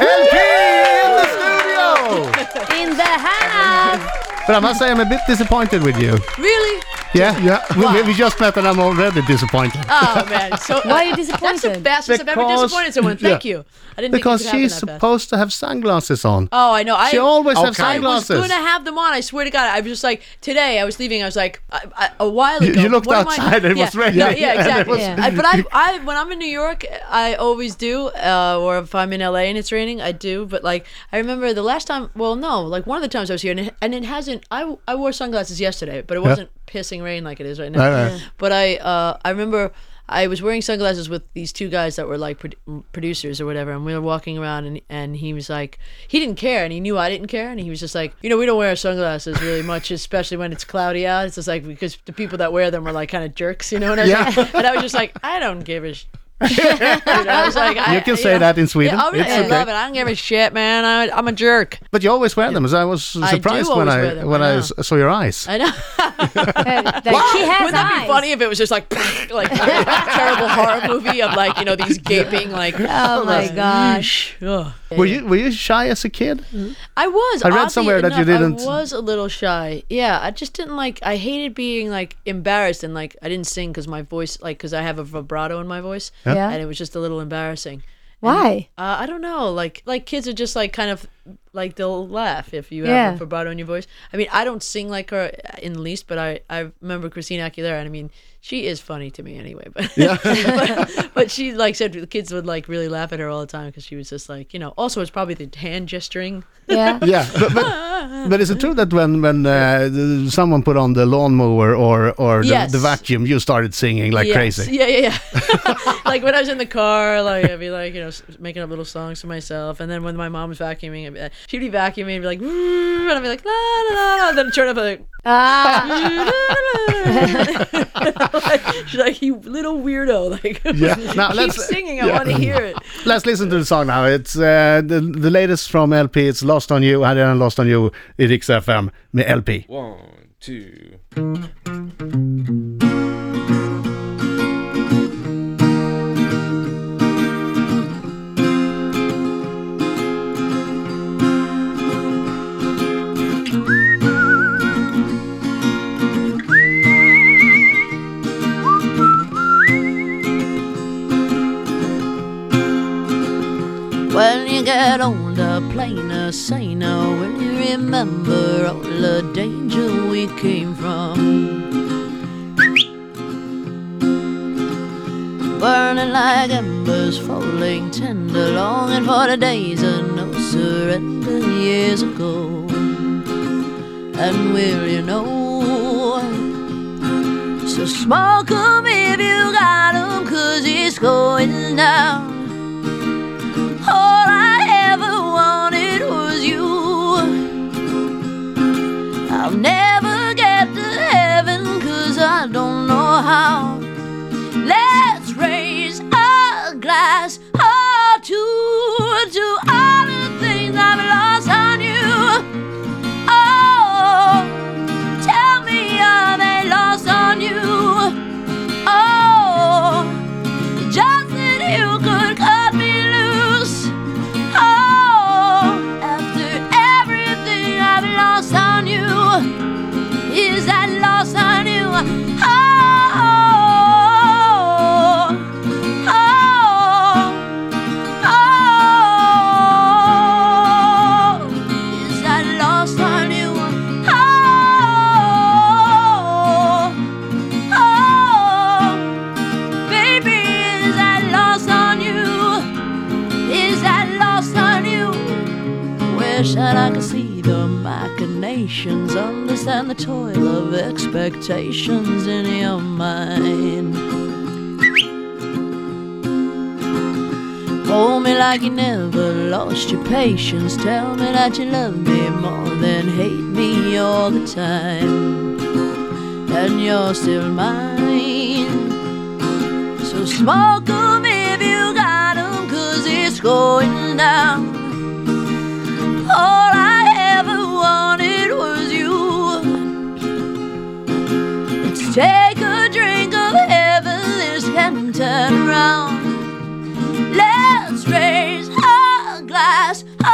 LP in the studio! In the house! But I must say, I'm a bit disappointed with you. Really? Yeah, yeah. We, we just met and I'm already disappointed. Oh man. So Why are you That's the disappointed? fastest I've ever Because- disappointed someone. Thank Yeah. you. I didn't Because think it could she's happen that fast. supposed to have sunglasses on. Oh, I know. I She always has Okay. I I was sunglasses. gonna have them on. I swear to God, I was just like today. I was leaving. I was like I, I, a while ago. You- you looked what am I- outside and it was Yeah, raining. Yeah, Yeah, yeah, and it exactly. was- Yeah. I- but I, I, when I'm in New York, I always do. Uh, or if I'm in LA and it's raining, I do. But like, I remember the last time. Well, no, like one of the times I was here, and it, and it hasn't. I, I wore sunglasses yesterday, but it wasn't pissing rain like it is right now. Right, right. Yeah. But I, uh, I remember. I was wearing sunglasses with these two guys that were like pro- producers or whatever, and we were walking around, and, and he was like, he didn't care, and he knew I didn't care, and he was just like, you know, we don't wear our sunglasses really much, especially when it's cloudy out. It's just like because the people that wear them are like kind of jerks, you know what I mean? Yeah. And I was just like, I don't give a. Sh-. you know, I was like, I, You can you say know, that in Sweden. Yeah, I, was, It's I okay. love it. I don't give a shit, man. I, I'm a jerk. But you always wear them, so I was I surprised do when always I wear them, when I I know. s- saw your eyes. I know. That she has Wouldn't that eyes. be funny if it was just like, like terrible horror movie of like you know these gaping like. Oh my gosh. Ugh. Were you were you shy as a kid? I was. I read oddly somewhere that you enough, didn't- I was a little shy. Yeah, I just didn't like. I hated being like embarrassed and like I didn't sing because my voice, like, because I have a vibrato in my voice. Yeah. And it was just a little embarrassing. Why? Uh, I don't know. Like, like kids are just like kind of like they'll laugh if you Yeah. have a vibrato in your voice. I mean, I don't sing like her uh, in the least, but I I remember Christina Aguilera, and I mean, she is funny to me anyway. But but, but she like said the kids would like really laugh at her all the time because she was just like you know. Also, it's probably the hand gesturing. Yeah. Yeah, but but, but is it true that when when uh, the- someone put on the lawnmower or or the, Yes. the vacuum, you started singing like Yes. crazy? Yeah, yeah, yeah. like when I was in the car, like I'd be like, you know, s- making up little songs to myself. And then when my mom was vacuuming, I'd be, like- she'd be vacuuming and be like, "Vroom," and I'd be like, la la la, la. Then turn up like, Ah. like, she's like, you little weirdo. Like, Yeah. Now, keep let's- singing. I yeah. want to hear it. Let's listen to the song now. It's uh, the the latest from LP. It's Lost on You. Hade den Lost on You i Rix FM med LP. One, two. When you get older, plainer, saner, when you remember all the danger we came from. Burning like embers, falling tender, longing for the days of no surrender years ago. And will you know? So smoke 'em if you got 'em, 'cause it's going down. All I ever wanted was you. I'll never get to heaven cause I don't know how. Let's raise a glass or two to all the things I've lost on you. Oh, tell me are they lost on you? Oh. Just that you could cut me loose. Oh, after everything I've lost on you, is that lost on you? Oh, oh, oh, is that lost on you? Oh, oh. Baby, is that lost on you? Is that lost on you? Wish that I could see the machinations, understand the toil of expectations in your mind. Hold me like you never lost your patience. Tell me that you love me more than hate me all the time. And you're still mine. So smoke 'em if you got 'em, 'cause it's going down. All I ever wanted was you. Let's take a drink of heaven, this can turn around. Let's raise a glass Oh,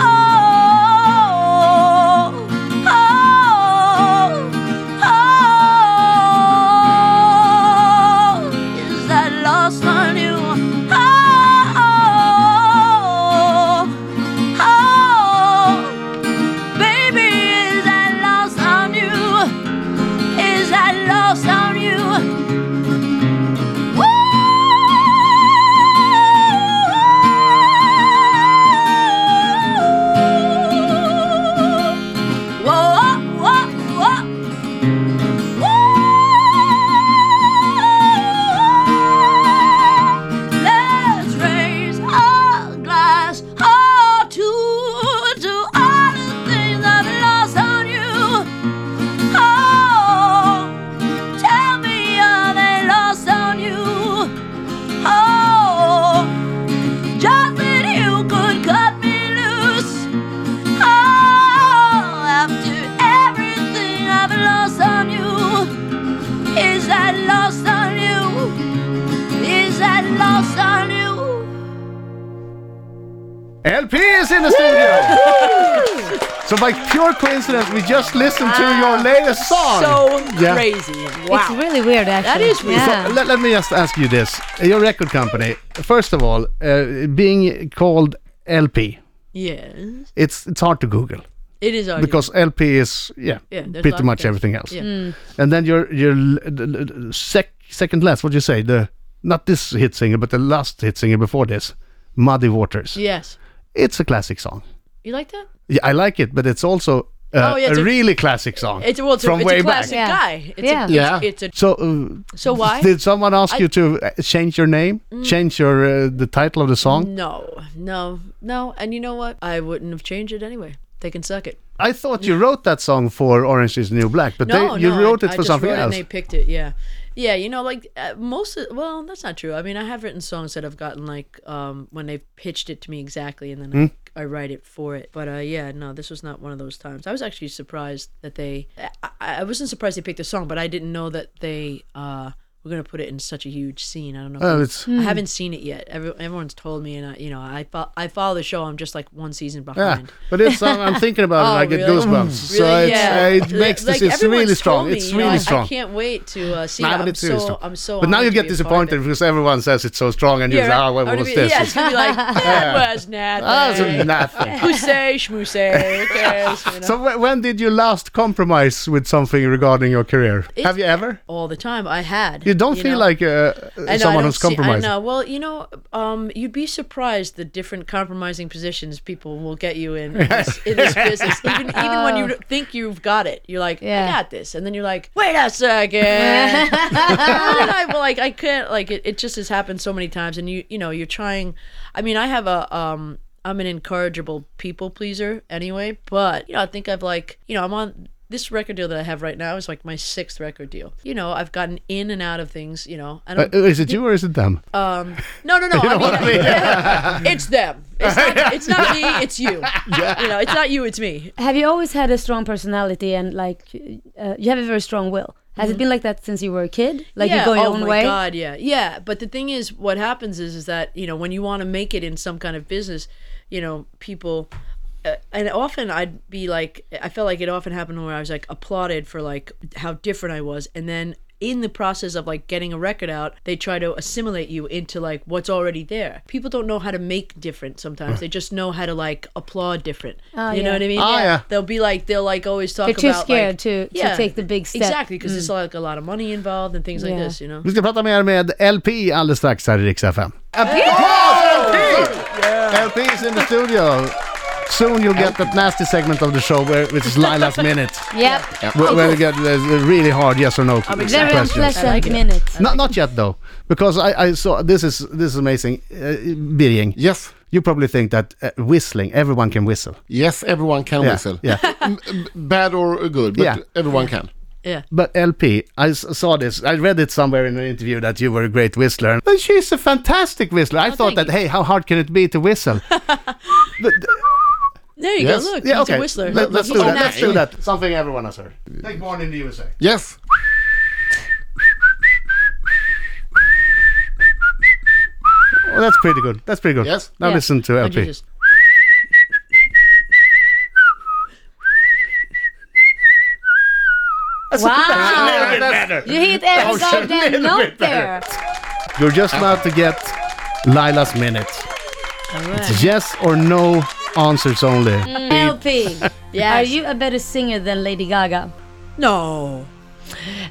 Oh, Oh, Oh, oh, Oh, Oh. Oh, Oh, lost on you? Is that lost on you? Is that lost on you? LP is in the studio! so by pure coincidence, we just listened to your latest song. Ah, So Yeah. crazy. Wow. It's really weird, actually. is weird. Yeah. Let, let me just ask you this. Your record company, first of all, uh, being called LP, yes. it's, it's hard to Google It is our because LP is, yeah, Yeah, there's lots pretty of much things. everything else. Yeah. And then your, your l- l- l- sec, second last, what do you say? The Not this hit singer, but the last hit singer before this, Muddy Waters. Yes. It's a classic song. You like that? Yeah, I like it, but it's also uh, Oh, yeah, a, it's a- really classic song It's, well, it's from a, it's way a classic back. Yeah. guy. It's Yeah. A, Yeah. It's a. So, uh, So why? did someone ask I- Mm. you to uh, change your name, change your uh, the title of the song? No, no, no. And you know what? I wouldn't have changed it anyway. They can suck it. I thought you wrote that song for Orange Is the New Black, but No, they, you no, wrote I, it I for just something wrote it else. And they picked it. Yeah, yeah. You know, like uh, most. Of, well, that's not true. I mean, I have written songs that I've gotten like um, when they've pitched it to me exactly, and then Hmm. I, I write it for it. But uh, yeah, no, this was not one of those times. I was actually surprised that they. I, I wasn't surprised they picked the song, but I didn't know that they uh, were gonna put it in such a huge scene. I don't know. if Oh, they- it's I haven't seen it yet. Every, everyone's told me, and I, you know, I fo- I follow the show. I'm just like one season yeah, behind. but it's uh, I'm, I'm thinking about it. Oh, and I get really? goosebumps. So Really? it's, uh, it makes Like, this. It's really everyone's strong. told me, it's you know, really I- strong. I can't wait to uh, see Nah, it. but I'm it's really so, strong. I'm so. but now honored you get to be a part of disappointed it. because everyone says it's so strong, and you're Yeah, like, I "Ah, what wanna was be- this?" Yeah, it's gonna be like that was nothing. Ah, it's nothing. Pusey, schmusey, who cares? You know? So wh- when did you last compromise with something regarding your career? Have you ever? all the time. I had. You don't feel know? like uh, I know, I someone don't who's see- compromised. I know. Well, you know, um, you'd be surprised the different compromising positions people will get you in in this, in this business. Even even when you think you've got it, you're like, Yeah. I got this, and then you're like, wait a second. and I, well, like I can't. Like it, it just has happened so many times, and you you know you're trying. I mean, I have a um. I'm an incorrigible people pleaser anyway, but you know, I think I've like, you know, I'm on this record deal that I have right now is like my sixth record deal. You know, I've gotten in and out of things, you know, and I'm Uh, is it you or is it them? um, no, no, no. I mean, it's them. It's not, it's not me. It's you. You know, it's not you. It's me. Have you always had a strong personality and like uh, you have a very strong will? Has it been like that since you were a kid? Like Mm. yeah. you go your oh own my way? God, yeah, yeah. But the thing is, what happens is, is that you know, when you want to make it in some kind of business, you know, people, uh, and often I'd be like, I felt like it often happened where I was like applauded for like how different I was, and then in the process of like getting a record out they try to assimilate you into like what's already there people don't know how to make different sometimes they just know how to like applaud different you know Oh, yeah. what i mean Ah, yeah. they'll be like they'll like always talk They're too about scared to- like, to take the big step. exactly because there's like a lot of money involved and things like Yeah. this you know Vi ska prata mer med LP alldeles strax här i Rix FM. Applåd LP! LP is in the studio. Soon you'll get that nasty segment of the show where which is Lila's minute, Yep. where, where we get the the really hard yes or no Very questions. unpleasant I like it. minute. Not not yet though, because I, I saw this is this is amazing. Uh, Birging, Yes, you probably think that uh, whistling, everyone can whistle. yes, everyone can Yeah, whistle. yeah. M- m- bad or good, but Yeah. everyone can. yeah But LP, I s- saw this. I read it somewhere in an interview that you were a great whistler. But she's a fantastic whistler. I thought Oh, thank that, hey, how hard can it be to whistle? But- there you Yes. go look yeah, he's okay. a whistler Let, us He's do a that. nat- Let's do that. Something everyone has heard. Like born in the USA. Yes. Well, Oh, that's pretty good. That's pretty good. Yes. Now Yeah. listen to Why'd you LP. just- Wow. A little bit better. You hit Oh, every it's a goddamn little note bit there. better. You're just about to get Lila's minute. All It's right. Mm. yes or no answers only. LP, are Yes. you a better singer than Lady Gaga? no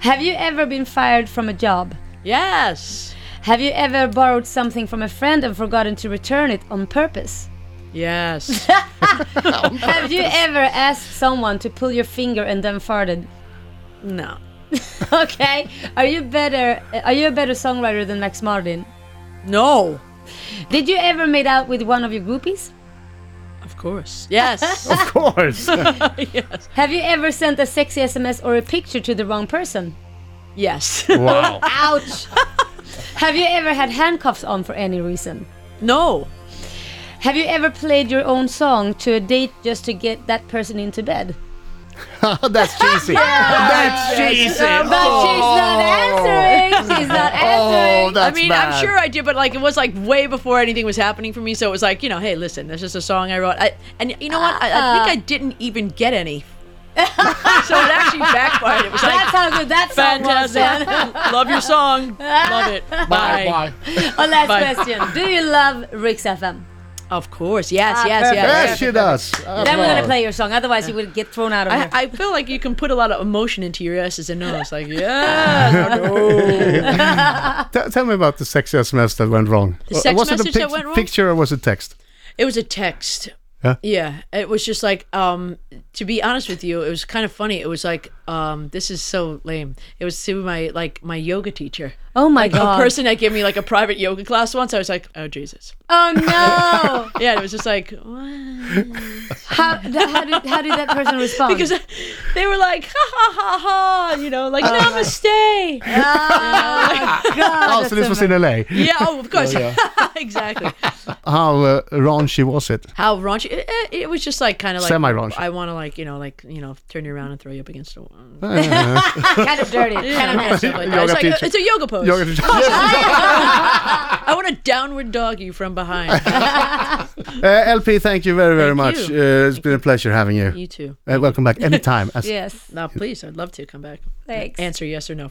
Have you ever been fired from a job? yes Have you ever borrowed something from a friend and forgotten to return it on purpose? yes Have you ever asked someone to pull your finger and then farted? no Okay. Are you better? Are you a better songwriter than Max Martin? no Did you ever made out with one of your groupies? of course yes Of course. yes Have you ever sent a sexy SMS or a picture to the wrong person? yes wow. Ouch! Have you ever had handcuffs on for any reason? no Have you ever played your own song to a date just to get that person into bed? That's cheesy. That's cheesy. Um, Oh. She's not answering. She's not Oh, answering. that's I mean, bad. I'm sure I did, but like it was like way before anything was happening for me. So it was like, you know, hey, listen, this is a song I wrote. I, and you know what? I, I think I didn't even get any. so it actually backfired. It was That's like how good that sound was. fantastic. Love your song. Love it. Bye. Bye. Our last Bye. question. Do you love Rick's FM? Of course. Yes, yes, yes. Yes, she does. Then we're going to play your song. Otherwise, you would get thrown out of here. I, I feel like you can put a lot of emotion into your S's and O's. Like, yeah. T- tell me about the sex SMS that went wrong. The sex was message it a that pic- went wrong? picture or was it text? It was a text. Yeah? Yeah. It was just like, um, to be honest with you, it was kind of funny. It was like, um, this is so lame. It was to my like my yoga teacher. oh my A god. person that gave me like a private yoga class once. I was like, oh Jesus. oh no. Yeah, it was just like what? how, th- how, did, how did that person Oh. respond? Oh, because they were like ha ha ha ha, you know, like namaste. oh, so this was in LA. Yeah, oh of course, exactly. How uh, raunchy was it? How raunchy? It, it- it was just like kind of like Semi-raunchy. I want to like you know like you know turn you around and throw you up against a wall. kind of dirty. Kind of Yeah, nasty. stuff like that. It's, Yoga like a, teacher. it's a yoga pose. You're gonna- I want to downward dog you from behind. uh, LP, thank you very, very Thank much. you. Uh, it's been a pleasure having you. you too. Uh, welcome back anytime. As Yes. Now, please, I'd love to come back. Thanks. Answer yes or no.